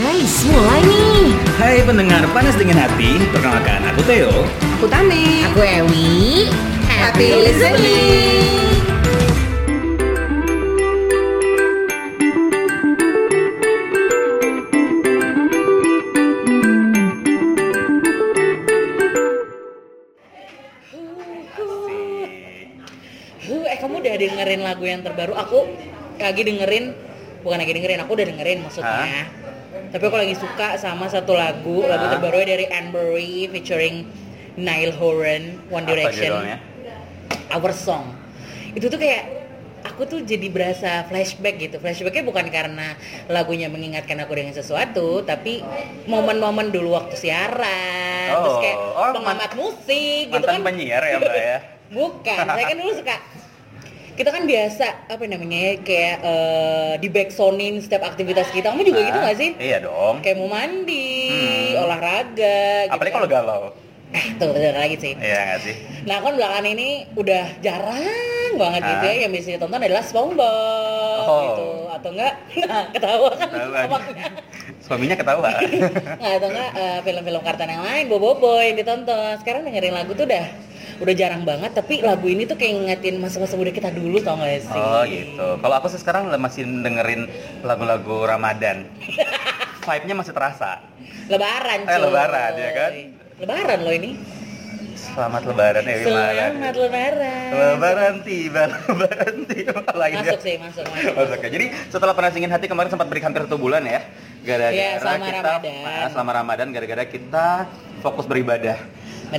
Guys, mulai nih. Hai pendengar panas dingin hati, perkenalkan aku Theo. Aku Tani. Aku Ewi. Happy listening. Uh, eh kamu udah dengerin lagu yang terbaru? Aku lagi dengerin, bukan lagi dengerin, aku udah dengerin maksudnya. Hah? Tapi aku lagi suka sama satu lagu, lagu Hah? terbaru dari Anne Marie featuring Niall Horan, One Apa Direction, judulnya? Our Song. Itu tuh kayak aku tuh jadi berasa flashback gitu. Flashbacknya bukan karena lagunya mengingatkan aku dengan sesuatu, tapi momen-momen dulu waktu siaran, terus Oh, kayak oh, pengamat musik gitu Mantan kan. penyiar ya mbak ya. Bukan, saya kan dulu suka kita kan biasa apa namanya ya, kayak eh, di backsonin setiap aktivitas kita. Kamu juga gitu Hah? gak sih? Iya dong. Kayak mau mandi, Hmm. olahraga. Apalagi kan. kalau galau. Eh, tuh bener lagi sih. Iya nggak sih? Nah kan belakangan ini udah jarang banget Hah? gitu ya yang biasanya tonton adalah SpongeBob Oh. gitu atau enggak ketawa kan Ketawa. otaknya. Suaminya ketawa. Nggak, atau enggak eh, film-film kartun yang lain bobo yang ditonton sekarang dengerin lagu tuh udah udah jarang banget tapi lagu ini tuh kayak ngingetin masa-masa muda kita dulu tau gak sih oh gitu. Kalau aku sih sekarang masih dengerin lagu-lagu Ramadan. Vibe-nya masih terasa. lebaran Eh, cuy. lebaran, ya kan? lebaran loh ini Selamat Lebaran ya selamat lebaran Lebaran tiba, Lebaran tiba. Lainnya. masuk sih masuk masuk Masuk ya. Jadi setelah panas dingin hati kemarin sempat break hampir satu bulan ya. Gara-gara Iya, selama kita Ramadan. Nah, selama Ramadan gara-gara kita fokus beribadah.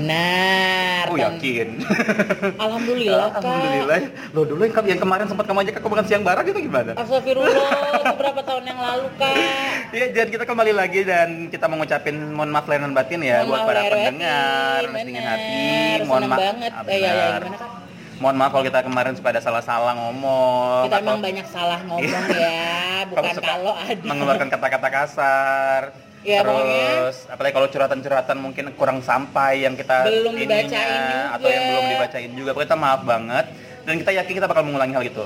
benar Aku Tan. Oh, yakin. alhamdulillah Iya, kak Alhamdulillah. ya. Loh dulu yang, yang kemarin sempat kamu ajak aku makan siang bareng itu gimana? Oh. Astagfirullah, itu berapa tahun yang lalu kak? Iya, dan kita kembali lagi dan kita mau ngucapin mohon maaf lahir dan batin ya Mohon buat maaf para lahir batin, pendengar, Panas dingin hati, bener. mohon Seneng maaf. banget. Ah, Eh, iya, iya, bener. gimana, Kak? Mohon maaf kalau kita kemarin suka ada salah-salah ngomong. Kita atau- emang banyak salah ngomong ya, Kamu bukan suka kalau ada. mengeluarkan kata-kata kasar Ya, pokoknya. terus apalagi kalau curhatan-curhatan mungkin kurang sampai yang kita Belum ininya, dibacain juga. atau yang belum dibacain juga Pokoknya kita maaf banget dan kita yakin kita bakal mengulangi hal itu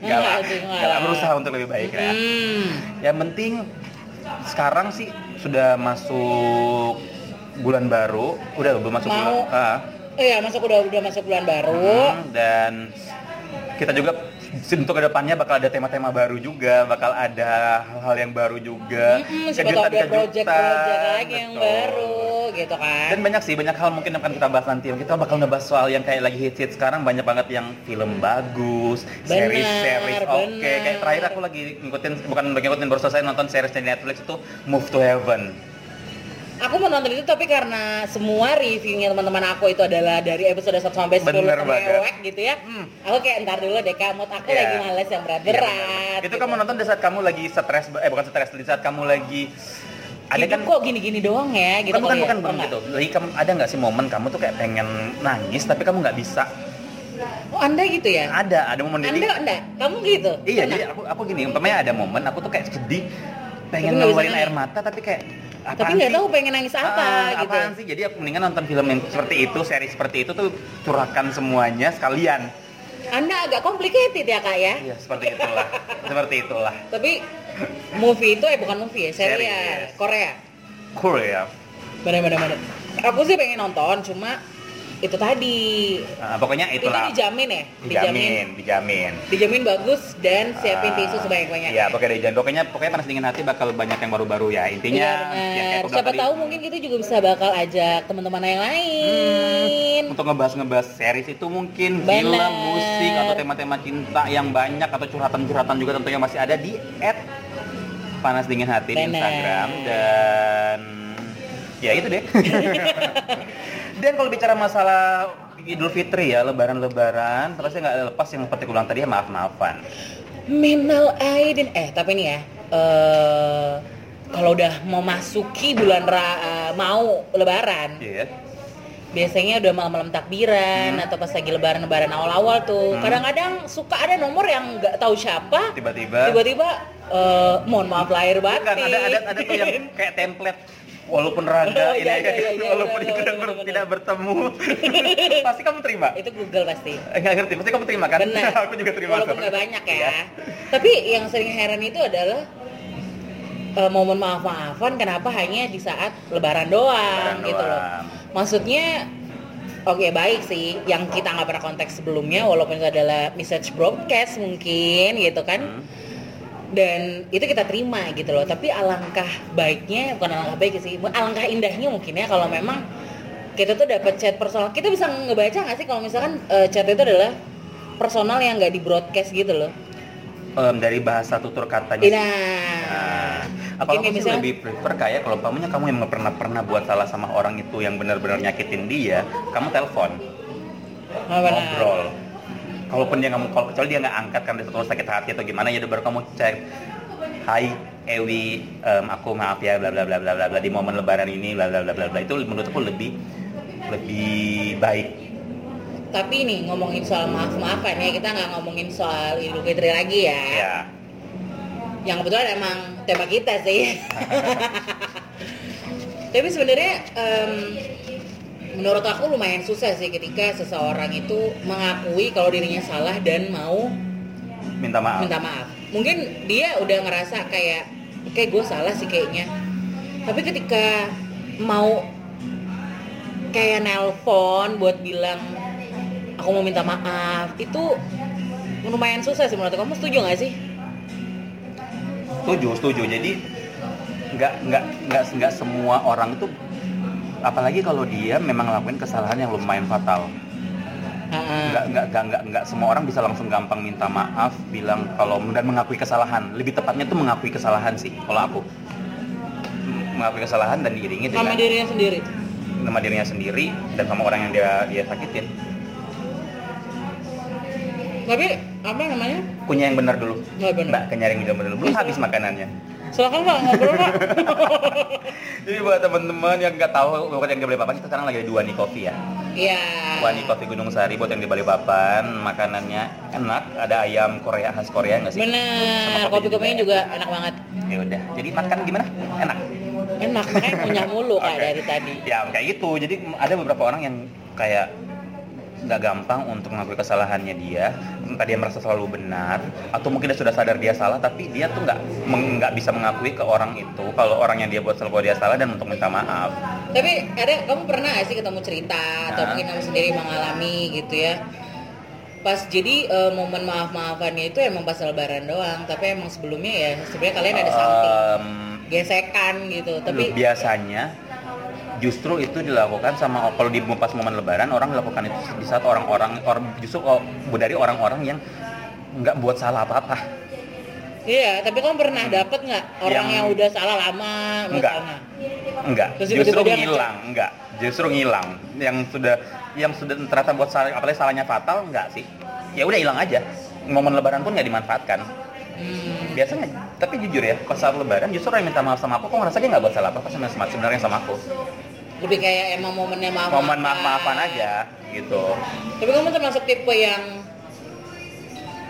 Enggak lah, sih, enggak. enggak lah, berusaha untuk lebih baik ya Hmm. yang penting sekarang sih sudah masuk bulan baru udah belum masuk Mau. bulan ah. Eh, ya masuk udah udah masuk bulan baru. Hmm, dan kita juga untuk kedepannya bakal ada tema-tema baru juga, bakal ada hal-hal yang baru juga, Hmm, siapa tahu ada project-project lagi yang betul. baru gitu kan. Dan banyak sih, banyak hal mungkin yang akan kita bahas nanti. Kita bakal ngebahas soal yang kayak lagi hits hits sekarang banyak banget yang film bagus, Benar, series series oke. Hmm. benar. Kayak terakhir aku lagi ngikutin bukan lagi ngikutin baru selesai nonton series di Netflix itu Move to Heaven. Aku mau nonton itu tapi karena semua reviewnya teman-teman aku itu adalah dari episode 1 sampai 10 Bener banget. mewek gitu ya. Hmm. Aku kayak ntar dulu deh Kak, mood aku Iya. lagi males yang Iya, berat-berat. benar. itu gitu. kamu nonton di saat kamu lagi stres eh bukan stres di saat kamu lagi ada Hidup kan Gitu kok gini-gini doang ya gitu. bukan bukan kali ya? bukan, Oh, bukan enggak. gitu lagi kamu ada nggak sih momen kamu tuh kayak pengen nangis tapi kamu nggak bisa Oh, Anda gitu ya? ada ada momen Anda jadi enggak? Kamu gitu? iya Pernah? jadi aku aku gini umpamanya ada momen aku tuh kayak sedih pengen Tapi nggak bisa ngeluarin air nangis. mata tapi kayak apaan Tapi nggak sih? tahu pengen nangis apa Ah, gitu. apaan sih jadi aku mendingan nonton film yang seperti itu seri seperti itu tuh curahkan semuanya sekalian Anda agak complicated ya kak ya. iya seperti itulah seperti itulah Tapi movie itu eh bukan movie ya, seri Series. ya Korea. cool ya Benar-benar benar. Aku sih pengen nonton, cuma itu tadi Ah, pokoknya itu itulah dijamin ya, dijamin dijamin dijamin bagus dan siapin Ah, tisu sebanyak-banyaknya. Iya, pokoknya dijamin. Pokoknya pokoknya panas dingin hati bakal banyak yang baru-baru ya. Intinya ya, Iya, kayak benar. aku bilang Siapa tadi, tahu mungkin kita juga bisa bakal ajak teman-teman yang lain. untuk ngebahas-ngebahas series itu mungkin Benar. film, musik atau tema-tema cinta yang banyak atau curhatan-curhatan juga tentunya masih ada di at panas dingin hati di Benar. Instagram dan ya itu deh. dan kalau bicara masalah Idul Fitri ya, Lebaran-Lebaran, terusnya nggak lepas yang seperti ulang tadi ya maaf-maafan. Minal Aidin eh tapi nih ya eh kalau udah mau masuki bulan ra- eh, mau lebaran Iya. biasanya udah malam-malam takbiran Hmm. atau pas lagi lebaran lebaran awal-awal tuh kadang-kadang suka ada nomor yang nggak tahu siapa Tiba-tiba tiba-tiba eh, mohon maaf lahir batin Bukan, Kan ada ada ada tuh yang kayak template walaupun rada Oh, ini iya, iya, iya, iya, walaupun benar, tidak, benar, ber- benar. tidak bertemu pasti kamu terima Eh, itu Google pasti nggak ngerti pasti kamu terima kan benar aku juga terima Iya. walaupun sorry. nggak banyak ya Iya. tapi yang sering heran itu adalah eh, momen maaf-maafan kenapa hanya di saat lebaran Lebaran doang gitu loh. doang. Maksudnya oke baik sih yang kita nggak pernah konteks sebelumnya walaupun itu adalah message broadcast mungkin gitu kan. Hmm. Dan itu kita terima gitu loh. Tapi alangkah baiknya bukan alangkah baik sih, alangkah indahnya mungkin ya kalau memang kita tuh dapat chat personal. Kita bisa ngebaca nggak sih kalau misalkan eh, chat itu adalah personal yang nggak di broadcast gitu loh. Em, dari bahasa tutur katanya sih. Nah, Nah, kalau aku Mungkin sih Iya. misalnya- lebih prefer kayak kalau umpamanya kamu yang pernah pernah buat salah sama orang itu yang benar-benar nyakitin dia, kamu telepon, nggak pernah. ngobrol. Kalaupun dia nggak mau kalau kecuali dia nggak angkat karena dia terus sakit hati atau gimana ya udah baru kamu cek. Hai Ewi, em, aku maaf ya bla bla bla bla bla bla di momen lebaran ini bla bla bla bla bla itu menurutku lebih lebih baik. Tapi nih ngomongin soal maaf-maafan ya, kita nggak ngomongin soal Idul Fitri lagi ya. Ya. Yang kebetulan emang tema kita sih. Tapi sebenarnya em, menurut aku lumayan susah sih ketika seseorang itu mengakui kalau dirinya salah dan mau Minta maaf. minta maaf. Mungkin dia udah ngerasa kayak kayak gue salah sih kayaknya. Tapi ketika mau kayak nelpon buat bilang aku mau minta maaf itu lumayan susah sih menurut aku. kamu setuju nggak sih? setuju setuju jadi nggak nggak nggak nggak semua orang itu apalagi kalau dia memang lakuin kesalahan yang lumayan fatal Heeh. nggak nggak nggak nggak, nggak semua orang bisa langsung gampang minta maaf bilang kalau dan mengakui kesalahan lebih tepatnya itu mengakui kesalahan sih kalau aku M- mengakui kesalahan dan diiringi dengan sama dirinya sendiri. sama dirinya sendiri dan sama orang yang dia dia sakitin Tapi apa namanya? kunyah yang benar dulu Nggak Iya, benar. Iya. mbak kenyaring yang benar dulu belum habis makanannya Silakan pak ngobrol pak. jadi buat teman-teman yang nggak tahu bukan yang nggak boleh apa kita sekarang lagi ada dua nih kopi ya Iya. Wani Coffee Gunung Sari buat yang di Balikpapan, makanannya enak, ada ayam Korea khas Korea nggak sih? Bener. Sama Kopi kopi kopinya juga juga. enak banget. Ya udah, jadi makan gimana? Enak. Enak makanya punya mulu kayak Oke. dari tadi. Ya kayak gitu. Jadi ada beberapa orang yang kayak nggak gampang untuk mengakui kesalahannya dia, entah dia merasa selalu benar, atau mungkin dia sudah sadar dia salah, tapi dia tuh nggak meng- nggak bisa mengakui ke orang itu kalau orang yang dia buat selalu dia salah dan untuk minta maaf. Tapi ada kamu pernah gak sih ketemu cerita atau Nah. mungkin kamu sendiri mengalami gitu ya? Pas jadi eh, momen maaf-maafannya itu emang pas lebaran doang, tapi emang sebelumnya ya sebenarnya kalian ada Ah. something Em, gesekan gitu. Tapi biasanya justru itu dilakukan sama kalau di pas momen lebaran orang lakukan itu di saat orang-orang orang justru o- dari orang-orang yang nggak buat salah apa-apa iya, tapi kamu pernah dapet nggak orang Hmm. Yang- yang, udah salah lama Enggak. misalnya? enggak Terus justru tiba-tiba dia ngilang enggak justru ngilang yang sudah yang sudah ternyata buat salah apalagi salahnya fatal enggak sih ya udah hilang aja momen lebaran pun nggak dimanfaatkan Hmm. biasanya tapi jujur ya pas saat lebaran justru orang yang minta maaf sama aku kok ngerasa dia nggak buat salah apa-apa sama sama- sebenarnya sama aku Lebih kayak emang momennya maaf. momen maaf-maafan aja gitu Tapi kamu termasuk tipe yang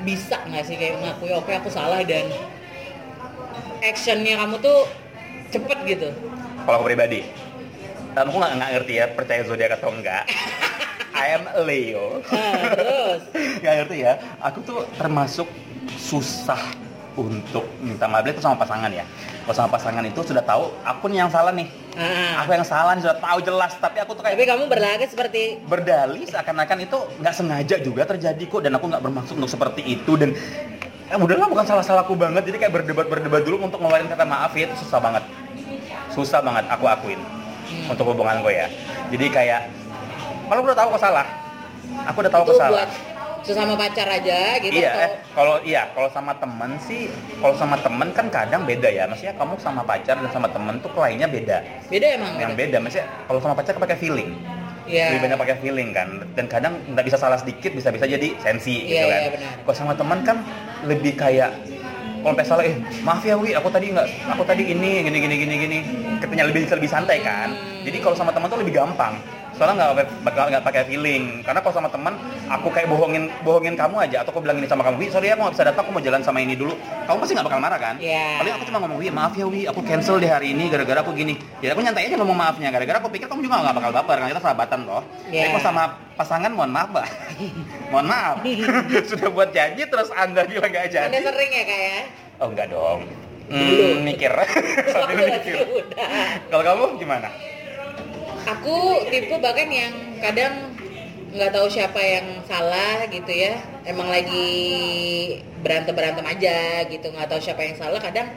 bisa nggak sih kayak mengakui oke aku salah dan actionnya kamu tuh cepet gitu. kalau aku pribadi em, aku nggak nggak ngerti ya percaya zodiak atau enggak I am Leo Nah, terus nggak ngerti ya aku tuh termasuk susah untuk minta maaf itu sama pasangan ya kalau sama pasangan itu sudah tahu aku nih yang salah nih Ah, aku yang salah nih, sudah tahu jelas tapi aku tuh tapi kayak kamu berlagak seperti berdalih seakan-akan itu nggak sengaja juga terjadi kok dan aku nggak bermaksud untuk seperti itu dan eh, udahlah bukan salah-salahku banget jadi kayak berdebat berdebat dulu untuk ngeluarin kata maaf ya itu susah banget susah banget aku akuin untuk hubungan gue ya jadi kayak kalau udah tahu aku salah aku udah tahu itu aku salah buat sesama pacar aja gitu iya eh, atau kalau iya kalau sama temen sih kalau sama temen kan kadang beda ya maksudnya kamu sama pacar dan sama temen tuh kliennya beda beda emang gitu? yang beda maksudnya kalau sama pacar kan pakai feeling Iya. lebih banyak pakai feeling kan dan kadang nggak bisa salah sedikit bisa bisa jadi sensi gitu Iya, kan iya, benar. kalau sama teman kan lebih kayak kalau sampai salah eh maaf ya wi aku tadi nggak aku tadi ini gini gini gini gini katanya lebih lebih santai kan Hmm. jadi kalau sama teman tuh lebih gampang soalnya nggak pakai- nggak pakai feeling karena kalau sama teman aku kayak bohongin bohongin kamu aja atau aku bilang ini sama kamu wi sorry ya aku nggak bisa datang aku mau jalan sama ini dulu kamu pasti nggak bakal marah kan Iya. paling aku cuma ngomong wi maaf ya wi aku cancel di hari ini gara-gara aku gini ya aku nyantai aja ngomong maafnya gara-gara aku pikir kamu juga nggak bakal baper karena kita sahabatan loh Iya. tapi kalau sama pasangan mohon maaf mbak mohon maaf sudah buat janji terus anda bilang nggak Anda Iya. jadi sering ya kak ya? oh enggak dong Hmm, mikir. Sambil Waktu mikir. masih muda. Kalau kamu gimana? aku tipe bahkan yang kadang nggak tahu siapa yang salah gitu ya emang lagi berantem berantem aja gitu nggak tahu siapa yang salah kadang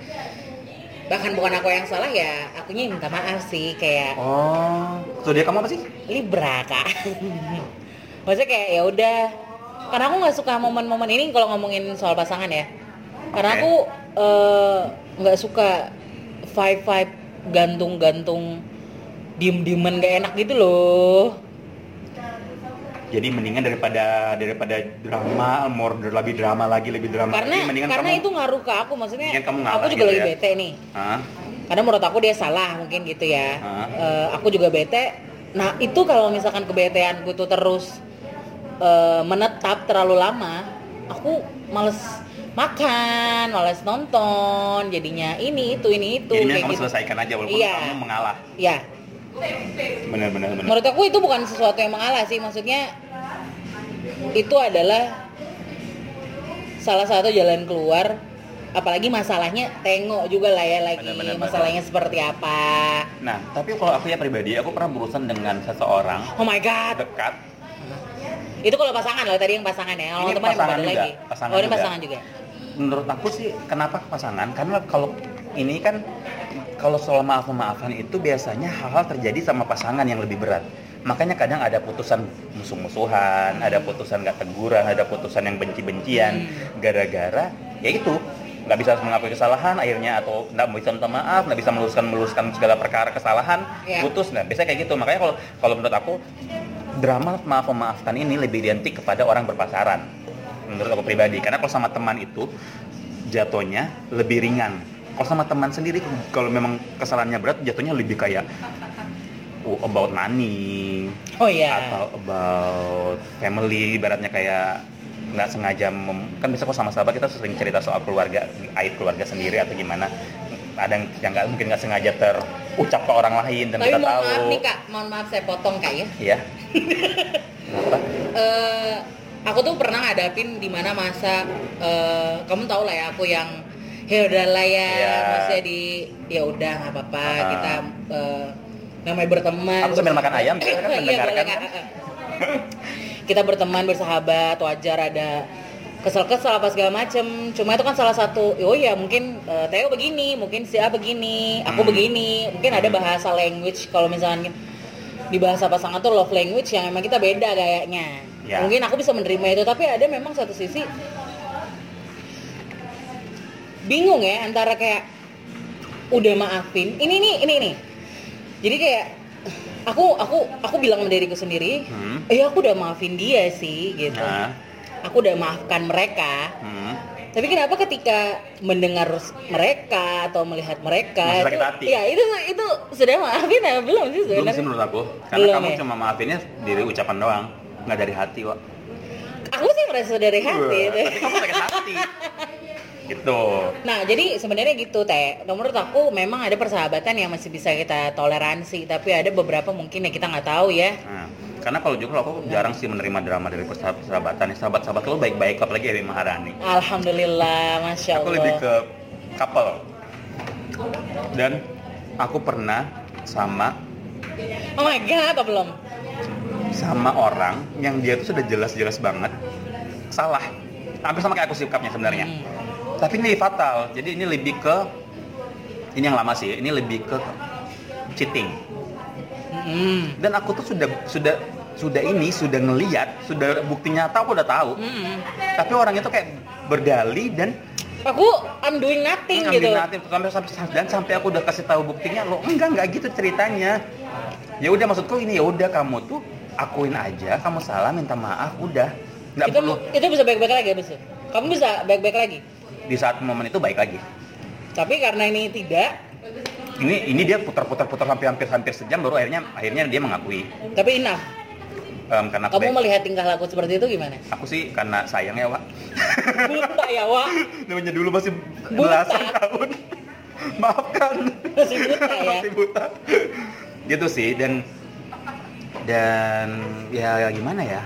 bahkan bukan aku yang salah ya akunya yang minta maaf sih kayak Oh, zodiak kamu apa sih? libra kak maksudnya kayak ya udah karena aku nggak suka momen-momen ini kalau ngomongin soal pasangan ya Oke. karena aku eh, nggak suka five five gantung-gantung diem-dieman gak enak gitu loh Jadi mendingan daripada daripada drama, more lebih drama lagi, lebih drama. karena lagi, Nah, mendingan karena kamu, itu ngaruh ke aku maksudnya Mendingan kamu ngalah aku juga gitu lagi ya. bete nih Hah? karena menurut aku dia salah mungkin gitu ya Ah. Eh, aku juga bete nah itu kalau misalkan kebeteanku tuh terus eh, menetap terlalu lama aku males makan males nonton jadinya ini itu ini Jadi itu mendingan kayak kamu gitu. selesaikan aja walaupun Iya. kamu mengalah. ya Benar benar benar. menurut aku itu bukan sesuatu yang mengalah sih maksudnya itu adalah salah satu jalan keluar apalagi masalahnya tengok juga lah ya lagi Benar, benar, benar. masalahnya seperti apa Nah, tapi kalau aku ya pribadi, aku pernah berurusan dengan seseorang oh my god dekat. itu kalau pasangan loh tadi yang pasangan ya kalau Ini teman yang pasangan beda juga, lagi pasangan oh ini juga. pasangan juga Menurut aku sih, kenapa ke pasangan? Karena kalau ini kan kalau soal maaf memaafan itu biasanya hal-hal terjadi sama pasangan yang lebih berat. Makanya kadang ada putusan musuh-musuhan, ada putusan gak teguran, ada putusan yang benci-bencian, gara-gara ya itu nggak bisa mengakui kesalahan akhirnya atau nggak bisa minta maaf nggak bisa meluruskan meluruskan segala perkara kesalahan Iya. putus nah biasanya kayak gitu makanya kalau kalau menurut aku drama maaf memaafkan ini lebih identik kepada orang berpasaran menurut aku pribadi karena kalau sama teman itu jatuhnya lebih ringan kalau sama teman sendiri kalau memang kesalahannya berat jatuhnya lebih kayak oh, about money oh iya atau about family ibaratnya kayak nggak sengaja mem- kan bisa kok sama sahabat kita sering cerita soal keluarga aib keluarga sendiri atau gimana ada yang yang nggak mungkin nggak sengaja terucap ke orang lain dan tapi kita mohon tahu maaf nih kak mohon maaf saya potong kak ya Iya. eh aku tuh pernah ngadapin di mana masa eh, kamu tau lah ya aku yang ya udahlah ya Iya. maksudnya di ya udah nggak apa-apa Ah. kita eh, namanya berteman Aku sambil makan ayam, Iya, silakan boleh, mendengarkan. Kak. kita berteman bersahabat wajar ada kesel-kesel apa segala macem cuma itu kan salah satu oh ya mungkin eh, Theo begini mungkin si A begini aku Hmm. begini mungkin ada bahasa language kalau misalnya di bahasa pasangan tuh love language yang emang kita beda kayaknya Ya. mungkin aku bisa menerima itu tapi ada memang satu sisi bingung ya antara kayak udah maafin ini ini ini ini jadi kayak aku aku aku bilang sama diriku sendiri Hmm. eh aku udah maafin dia sih gitu Nah. aku udah maafkan mereka Hmm. tapi kenapa ketika mendengar mereka atau melihat mereka Masih itu, sakit hati. ya itu itu sudah maafin ya belum sih Belum sebenarnya sih menurut aku. Karena Belum kamu ya? cuma maafinnya dari ucapan doang, nggak dari hati kok. aku sih merasa dari hati Wah, itu. tapi kamu sakit hati. gitu. Nah, jadi sebenarnya gitu, Teh. Nah, Menurut aku memang ada persahabatan yang masih bisa kita toleransi, tapi ada beberapa mungkin yang kita nggak tahu ya. Nah, karena kalau juga aku jarang sih menerima drama dari persahabat- persahabatan. ya. Sahabat-sahabat lo baik-baik apalagi Eri Maharani. Alhamdulillah, Masya Aku lebih Allah. ke couple. Dan aku pernah sama Oh my God, apa belum? sama orang yang dia tuh sudah jelas-jelas banget salah hampir sama kayak aku sikapnya sebenarnya Hmm. tapi ini lebih fatal jadi ini lebih ke ini yang lama sih ini lebih ke cheating Mm-mm. dan aku tuh sudah sudah sudah ini sudah ngeliat sudah bukti nyata aku udah tahu Mm-mm. tapi orang itu kayak berdali dan Aku I'm doing nothing gitu. ngambil sampai, sampai dan sampai aku udah kasih tahu buktinya lo enggak enggak gitu ceritanya ya udah maksudku ini ya udah kamu tuh akuin aja kamu salah minta maaf udah nggak Itu perlu itu bisa baik-baik lagi abis itu. Kamu bisa baik-baik lagi. di saat momen itu baik lagi Tapi karena ini tidak, ini ini dia putar-putar-putar hampir hampir hampir sejam baru akhirnya akhirnya dia mengakui tapi enough. Em, karena aku Kamu baik. melihat tingkah laku seperti itu gimana? aku sih karena sayangnya Wak Buta ya, Wak. namanya dulu masih Buta. belasan tahun maafkan Masih buta ya. masih buta gitu sih dan dan ya gimana ya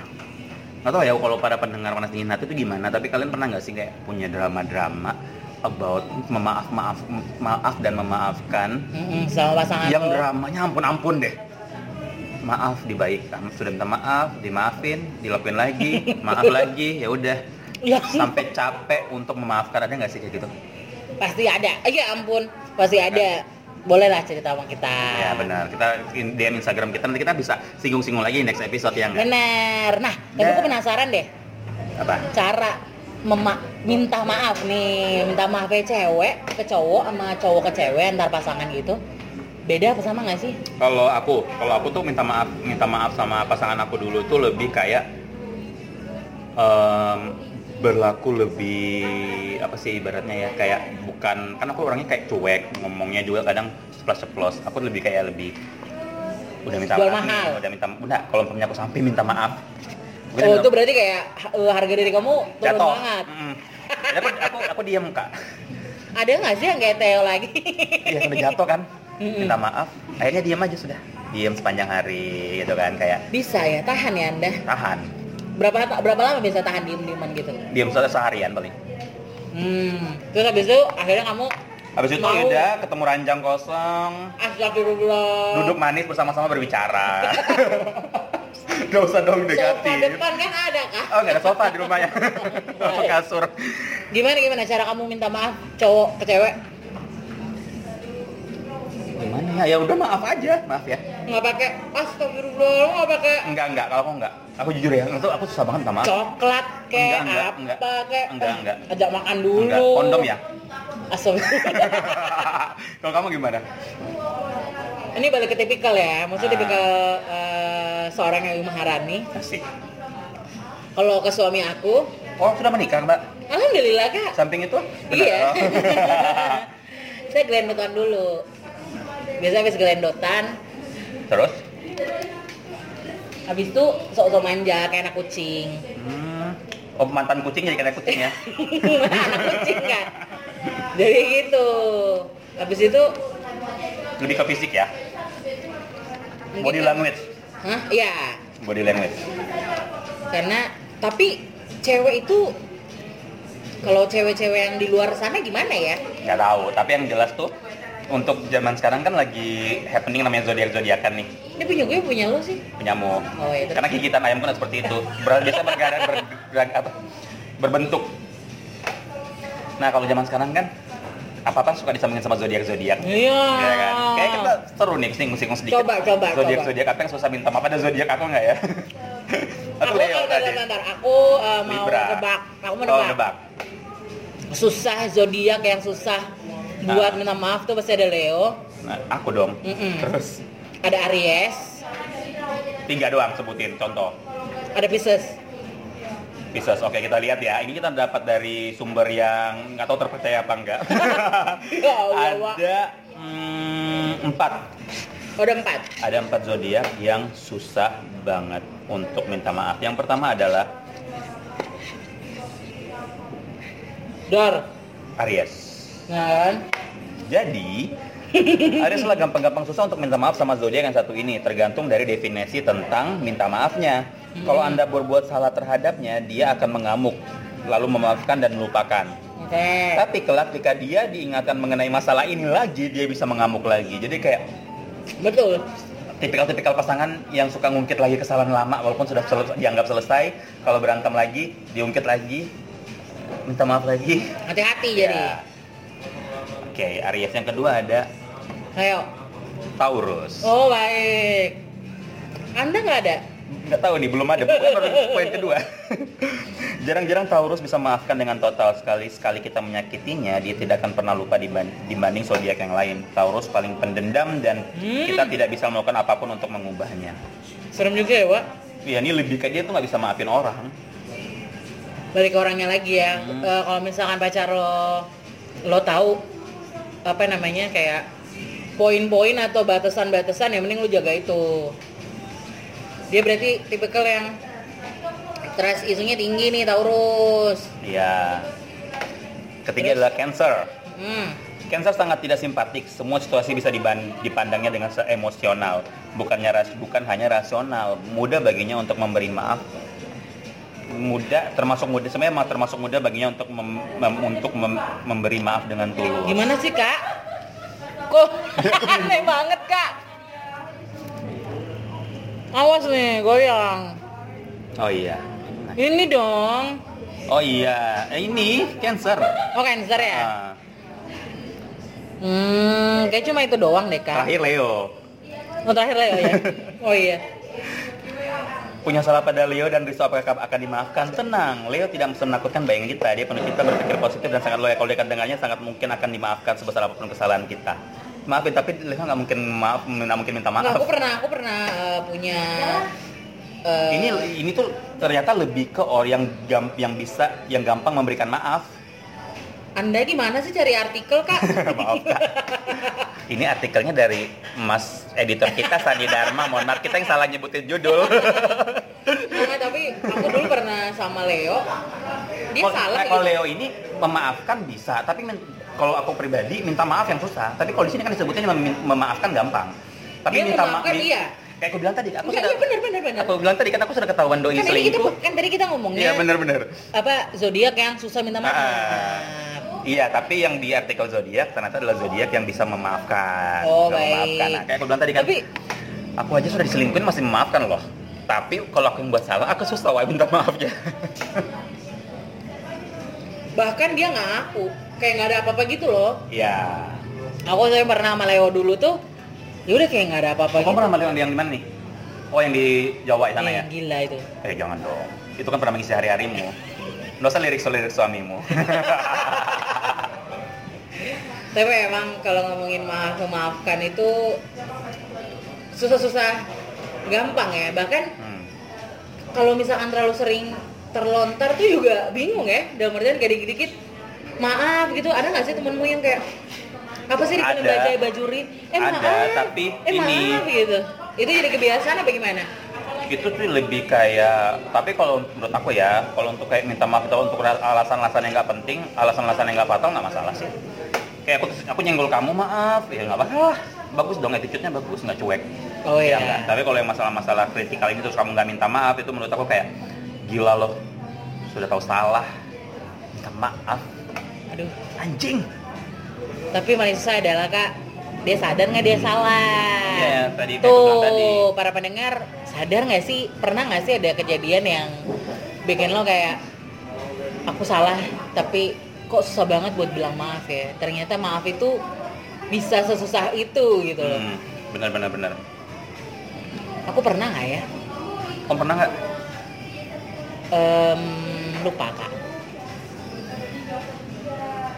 nggak tahu ya kalau para pendengar panas dingin hati itu gimana tapi kalian pernah nggak sih kayak punya drama-drama about memaaf maaf maaf dan memaafkan Mm-mm, sama pasangan yang lo. dramanya ampun ampun deh maaf dibaikkan sudah minta maaf dimaafin dilakuin lagi maaf lagi ya udah Ya. sampai capek untuk memaafkan ada nggak sih kayak gitu pasti ada iya ampun pasti ada Iya, bolehlah cerita sama kita ya benar kita in- DM Instagram kita nanti kita bisa singgung-singgung lagi next episode ya yang benar nah tapi Nah. aku penasaran deh apa cara mema minta maaf nih minta maafnya cewek ke cowok sama cowok ke cewek antar pasangan gitu beda apa sama nggak sih kalau aku kalau aku tuh minta maaf minta maaf sama pasangan aku dulu tuh lebih kayak em, berlaku lebih apa sih ibaratnya ya kayak bukan kan aku orangnya kayak cuek ngomongnya juga kadang ceplos ceplos aku lebih kayak lebih udah minta Jual maaf nih, mahal. udah minta udah kalau punya aku sampai minta maaf Mungkin oh ada- itu berarti kayak ha- eh, harga diri kamu turun jatuh banget Mm. Tapi aku aku diam kak ada nggak sih yang kayak Theo lagi Iya udah jatuh kan Mm-mm. minta maaf akhirnya diam aja sudah diam sepanjang hari gitu kan kayak bisa ya tahan ya anda tahan berapa berapa lama bisa tahan diem dieman gitu diam se- seharian paling hmm terus habis itu akhirnya kamu habis itu Mau. udah ketemu ranjang kosong astagfirullah duduk manis bersama-sama berbicara gak usah dong sofa negatif depan kan ada kah oh nggak ada sofa di rumahnya Sofa kasur gimana gimana cara kamu minta maaf cowok ke cewek gimana ya ya udah maaf aja maaf ya nggak pakai astagfirullah lu nggak pakai enggak enggak kalau aku enggak aku jujur ya itu aku susah banget minta maaf coklat kek Enggak, enggak, enggak. apa kek Enggak, enggak. ajak makan dulu enggak kondom ya astagfirullah kalau kamu gimana ini balik ke tipikal ya maksudnya Ah. tipikal eh, seorang yang Maharani asik kalau ke suami aku oh sudah menikah mbak alhamdulillah kak samping itu Iya. Oh. saya gelendotan dulu. Biasanya habis gelendotan, terus habis itu sok-sok manja kayak anak kucing. Hmm. Oh, mantan kucing jadi kena kucing ya. anak kucing kan. Jadi gitu. Habis itu Lebih ke fisik ya. mungkin Body kan- language. Hah? Iya. Body language. Karena tapi cewek itu kalau cewek-cewek yang di luar sana gimana ya? Nggak tahu, tapi yang jelas tuh untuk zaman sekarang kan lagi happening namanya zodiak-zodiakan nih, Ini punya gue punya lo sih. penyamu. Oh, iya, terus? Karena gigitan ayam kan seperti itu. Ber biasa bergarak ber, ber- apa? berbentuk. Nah, kalau zaman sekarang kan apa-apa suka disambungin sama zodiak-zodiak. Iya. Ya kan? Kayak kita seru nih singgung-singgung sedikit. Coba, coba, Zodiak coba. zodiak apa yang susah minta maaf? Ada zodiak aku nggak ya? Atau Aku Leo bentar, tadi? bentar, bentar. Aku eh, mau Libra. nebak. Aku mau Oh, nebak. nebak. susah zodiak yang susah buat minta maaf tuh pasti ada Leo, Nah, aku dong. Mm-mm. Terus ada Aries, tiga doang sebutin contoh. ada Pisces. Pisces. Oke, kita lihat ya. Ini kita dapat dari sumber yang nggak tahu terpercaya apa enggak. Ya Allah, Wak. Ada mm, empat. Oh, ada empat. Ada empat zodiak yang susah banget untuk minta maaf. Yang pertama adalah Dor. Aries. Kan? Jadi, ada salah gampang-gampang susah untuk minta maaf sama zodiak yang satu ini, tergantung dari definisi tentang minta maafnya. Kalau Hmm. Anda berbuat salah terhadapnya, dia akan mengamuk, lalu memaafkan dan melupakan. Oke. Tapi kelak jika dia diingatkan mengenai masalah ini lagi, dia bisa mengamuk lagi. Jadi kayak Betul. tipikal-tipikal pasangan yang suka ngungkit lagi kesalahan lama walaupun sudah sel- dianggap selesai, kalau berantem lagi, diungkit lagi, minta maaf lagi. Hati-hati jadi. Ya. Oke, Aries yang kedua ada Iya. Leo. Taurus. Oh, baik. Anda nggak ada? nggak tahu nih belum ada Pokoknya baru poin kedua jarang-jarang Taurus bisa maafkan dengan total sekali sekali kita menyakitinya dia tidak akan pernah lupa diban- dibanding zodiak yang lain Taurus paling pendendam dan Hmm. kita tidak bisa melakukan apapun untuk mengubahnya Serem juga ya, Wak. ya ini lebih ke dia tuh nggak bisa maafin orang Balik ke orangnya lagi ya. Eh, kalau misalkan pacar lo, lo tahu apa namanya kayak poin-poin atau batasan-batasan yang mending lo jaga itu. Dia berarti tipikal yang stress isunya tinggi nih Taurus. ya ketiga adalah Cancer Hmm. Cancer sangat tidak simpatik. Semua situasi bisa diban- dipandangnya dengan se- emosional, bukannya ras- bukan hanya rasional. Mudah baginya untuk memberi maaf muda termasuk muda sebenarnya emang termasuk muda baginya untuk mem- mem- untuk mem- memberi maaf dengan tulus. Gimana sih kak? Kok aneh banget kak? Awas nih, goyang. Oh iya. Ini dong. Oh iya, Eh, ini cancer. Oh cancer ya? Ah, Hmm, kayak cuma itu doang deh kak. terakhir Leo. Oh terakhir lah ya. ya? Oh iya. Punya salah pada Leo dan Risto apakah akan dimaafkan? Tenang, Leo tidak menakutkan bayang kita. Dia penuh cinta, berpikir positif dan sangat loyal. Kalau dekat dengannya sangat mungkin akan dimaafkan sebesar apapun kesalahan kita. Maafin, tapi Leo nggak mungkin maaf, nggak mungkin minta Nggak, aku maaf. pernah, aku pernah eh, punya. eh, Ini ini tuh ternyata lebih ke orang yang gam- yang bisa yang gampang memberikan maaf. Anda gimana sih cari artikel kak? maaf Kak. Ini artikelnya dari Mas editor kita Sandi Dharma. Mohon maaf kita yang salah nyebutin judul. Nah, tapi aku dulu pernah sama Leo. Dia Kalau- salah. nah, Kalau gitu. Leo ini memaafkan bisa, tapi men- kalau aku pribadi minta maaf yang susah. Tapi kalau di sini kan disebutnya mem- memaafkan gampang. Tapi Dia minta maaf memaafkan, iya. Kayak aku bilang tadi, aku Enggak, sudah iya, benar, benar, benar. Aku bilang tadi kan aku sudah ketahuan doi Kan tadi kita selingkuh. kan tadi kita ngomongnya Iya benar-benar. apa zodiak yang susah minta maaf. Ah. Iya, tapi yang di artikel zodiak ternyata adalah zodiak yang bisa memaafkan. Oh, Bisa baik. Memaafkan. Nah, kayak aku bilang tadi kan. Tapi aku aja sudah diselingkuhin masih memaafkan loh tapi kalau aku yang buat salah aku susah wah minta maaf ya bahkan dia nggak aku kayak nggak ada apa-apa gitu loh. ya Aku saya pernah sama Leo dulu tuh. Ya udah kayak nggak ada apa-apa kamu gitu. pernah melihat yang di mana nih oh yang di Jawa sana Eh, ya Gila itu. eh jangan dong itu kan pernah mengisi hari-harimu nggak usah lirik-lirik suamimu Tapi emang kalau ngomongin maaf memaafkan itu susah-susah gampang ya. Bahkan hmm. kalau misalkan terlalu sering terlontar tuh juga bingung ya dalam artian kayak dikit-dikit maaf gitu ada nggak sih temenmu yang kayak apa sih di film Ada. baca bajurin eh Ada, maaf tapi eh ini- maaf gitu itu jadi kebiasaan apa gimana itu tuh lebih kayak tapi kalau menurut aku ya kalau untuk kayak minta maaf atau untuk alasan-alasan yang nggak penting alasan-alasan yang nggak fatal nggak masalah sih kayak aku aku nyenggol kamu maaf ya nggak apa-apa bagus dong attitude-nya bagus nggak cuek oh Iya, ya enggak. Tapi kalau yang masalah-masalah kritikal ini terus kamu nggak minta maaf itu menurut aku kayak gila loh. Sudah tahu salah. Minta maaf. aduh Anjing. tapi paling susah adalah kak dia sadar nggak dia salah Iya, tadi kayak aku tuh bilang tadi. para pendengar sadar nggak sih pernah nggak sih ada kejadian yang bikin lo kayak aku salah tapi kok susah banget buat bilang maaf ya ternyata maaf itu bisa sesusah itu gitu loh Hmm, benar benar benar. aku pernah nggak ya Kamu pernah nggak? Em, lupa kak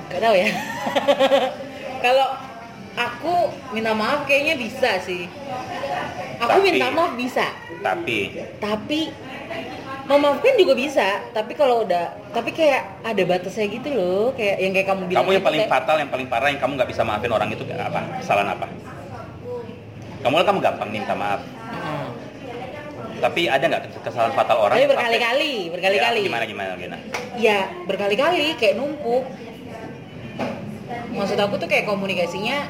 gak tahu ya kalau aku minta maaf kayaknya bisa sih aku Tapi- minta maaf bisa Tapi tapi memaafkan juga bisa tapi kalau udah tapi kayak ada batasnya gitu loh kayak yang kayak kamu bilang kamu yang itu paling kayak- fatal, yang paling parah, yang kamu nggak bisa maafin orang itu kayak apa? Kesalahan apa? Kamu kan kamu gampang nih minta maaf. Heeh. Tapi ada nggak kesalahan fatal orang? Hmm. tapi yang sampai- berkali-kali berkali-kali Ya, gimana gimana gimana? ya berkali-kali kayak numpuk maksud aku tuh kayak komunikasinya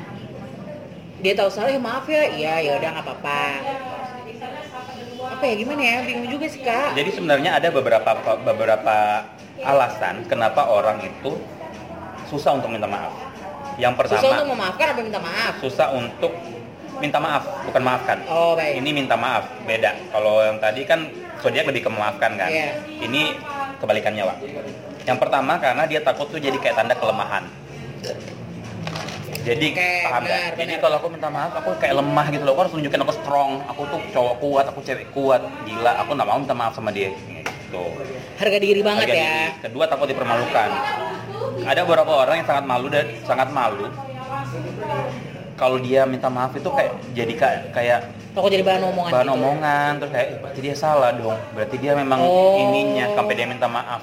dia tahu salah ya maaf ya iya ya udah nggak apa-apa apa ya gimana ya bingung juga sih kak Jadi sebenarnya ada beberapa beberapa alasan kenapa orang itu susah untuk minta maaf. Yang pertama, susah untuk memaafkan apa minta maaf susah untuk minta maaf, bukan maafkan. oh baik Ini minta maaf, beda. Kalau yang tadi kan zodiak lebih ke memaafkan kan. Iya. Ini kebalikannya, Wak. Yang pertama karena dia takut tuh jadi kayak tanda kelemahan. Jadi Oke, paham nggak? benar, Jadi benar. kalau aku minta maaf, aku kayak lemah gitu loh. Aku harus nunjukin aku strong, aku tuh cowok kuat, aku cewek kuat, gila. Aku nggak mau minta maaf sama dia. Gitu harga diri banget harga ya diri. Kedua takut dipermalukan. Ada beberapa orang yang sangat malu dan sangat malu. Kalau dia minta maaf itu kayak jadi ka- kayak Takut jadi bahan omongan bahan gitu. omongan terus kayak "Eh, berarti dia salah dong. Berarti dia memang Oh. ininya sampai dia minta maaf.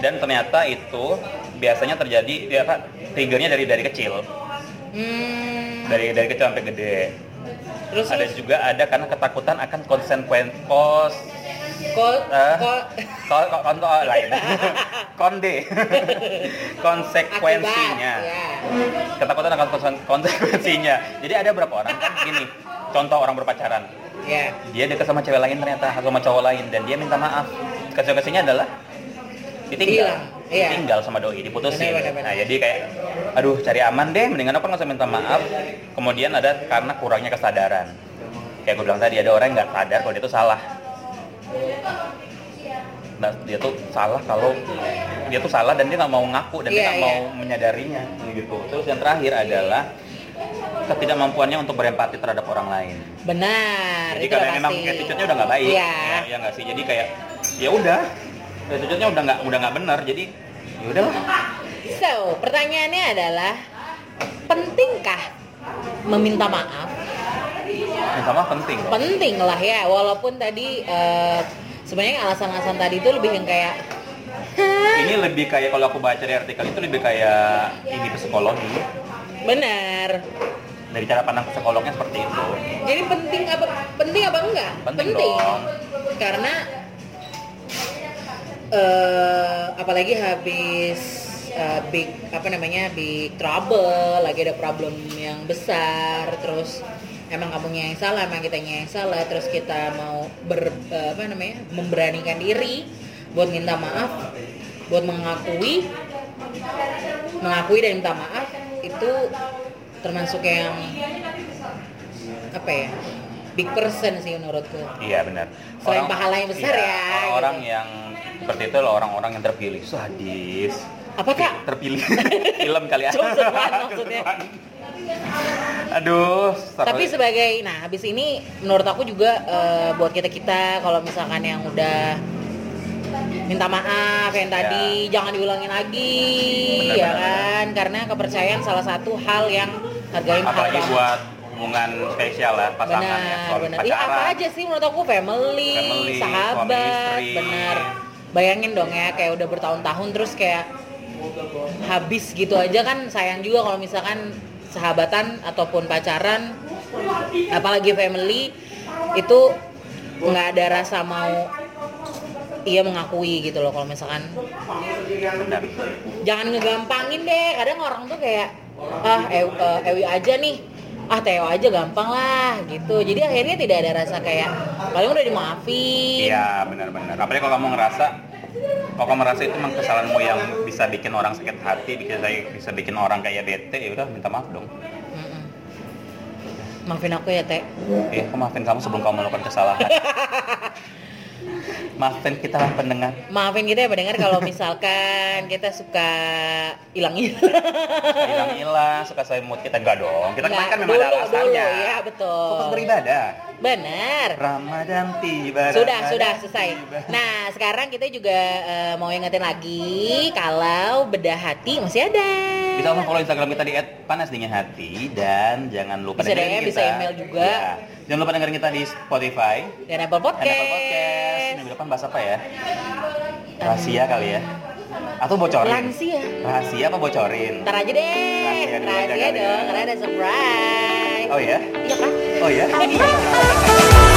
Dan ternyata itu biasanya terjadi dia apa triggernya dari dari kecil Hmm. dari dari kecil sampai gede Terus ada terus, juga ada karena ketakutan akan konsekuen kos kok Eh? kok kalau kalau contoh oh, lain konde konsekuensinya akibat, ya. ketakutan akan konse- konsekuensinya jadi ada berapa orang kan gini contoh orang berpacaran Ya. dia dekat sama cewek lain ternyata atau sama cowok lain dan dia minta maaf konsekuensinya adalah ditinggal Hilang, iya. ditinggal sama doi diputusin Benar, benar, benar. nah jadi kayak aduh cari aman deh mendingan aku nggak usah minta maaf kemudian ada karena kurangnya kesadaran kayak gue bilang tadi ada orang yang nggak sadar kalau dia tuh salah Nah, dia tuh salah kalau dia tuh salah dan dia nggak mau ngaku dan dia Iya, nggak iya. mau menyadarinya gitu terus yang terakhir adalah ketidakmampuannya untuk berempati terhadap orang lain benar jadi itu kalau udah memang pasti. attitude-nya udah nggak baik, Iya. ya, ya nggak sih. Jadi kayak ya udah, attitude-nya udah nggak udah nggak benar. Jadi ya udahlah. So, pertanyaannya adalah pentingkah meminta maaf? Minta maaf penting. Penting lah ya, walaupun tadi eh, sebenarnya alasan-alasan tadi itu lebih yang kayak Ini lebih kayak kalau aku baca di artikel itu lebih kayak ini psikologi benar. dari cara pandang psikolognya seperti itu. Jadi penting apa penting apa enggak? Penting dong. Karena eh apalagi habis eh, big apa namanya big trouble, lagi ada problem yang besar, terus emang kamunya yang salah, emang kitanya yang salah, terus kita mau ber eh, apa namanya memberanikan diri buat minta maaf, buat mengakui, mengakui dan minta maaf itu termasuk yang apa ya big person sih menurutku Iya benar. Selain pahala yang besar iya, ya, Orang gitu. yang seperti itu loh orang-orang yang terpilih. Sadis. Apa, Kak? Terpilih. Film kali ya. Kesusahan maksudnya. Kesusahan. Aduh, seru. tapi sebagai nah habis ini menurut aku juga eh, buat kita kita kalau misalkan yang udah minta maaf yang tadi jangan diulangin lagi Iya. Benar, ya benar, kan karena kepercayaan salah satu hal yang hargain hal apalagi banget. buat hubungan spesial lah pasangan ya benar suami benar Iya, pacaran apa aja sih menurut aku family, Family, sahabat suami istri. benar bayangin dong ya kayak udah bertahun-tahun terus kayak habis gitu aja kan sayang juga kalau misalkan sahabatan ataupun pacaran apalagi family itu nggak ada rasa mau iya mengakui gitu loh kalau misalkan benar jangan ngegampangin deh kadang orang tuh kayak ah Ew- eh, Ewi aja nih ah Teo aja gampang lah gitu jadi akhirnya tidak ada rasa kayak paling udah dimaafin iya benar benar apalagi kalau kamu ngerasa kalau kamu merasa itu memang kesalahanmu yang bisa bikin orang sakit hati bisa bisa bikin orang kayak bete ya udah minta maaf dong Mm-mm. maafin aku ya Teh ya aku maafin kamu sebelum kamu melakukan kesalahan maafin kita lah pendengar maafin kita ya pendengar kalau misalkan kita suka hilang hilang hilang suka selimut kita enggak dong kita kemarin kan memang ada Iya, Nah, dulu, dulu, alasannya ya betul fokus beribadah benar Ramadan tiba Sudah, Ramadan sudah selesai. tiba. Nah, sekarang kita juga eh, mau ingetin lagi kalau bedah hati masih ada. Bisa langsung follow Instagram kita di @panasdinginhati dan jangan lupa Bisa dengerin DM, bisa email juga. Iya. Jangan lupa dengerin kita di Spotify Dan Apple dan Podcast. Apple Podcast. Minggu depan bahas apa ya? Rahasia kali ya? Atau bocorin? Lansia. Rahasia apa bocorin? ya. Ntar aja deh. Rahasia dulu aja kali ya. Rahasia Iya, dong, karena ada surprise. Oh ya? Iya kan? Oh ya?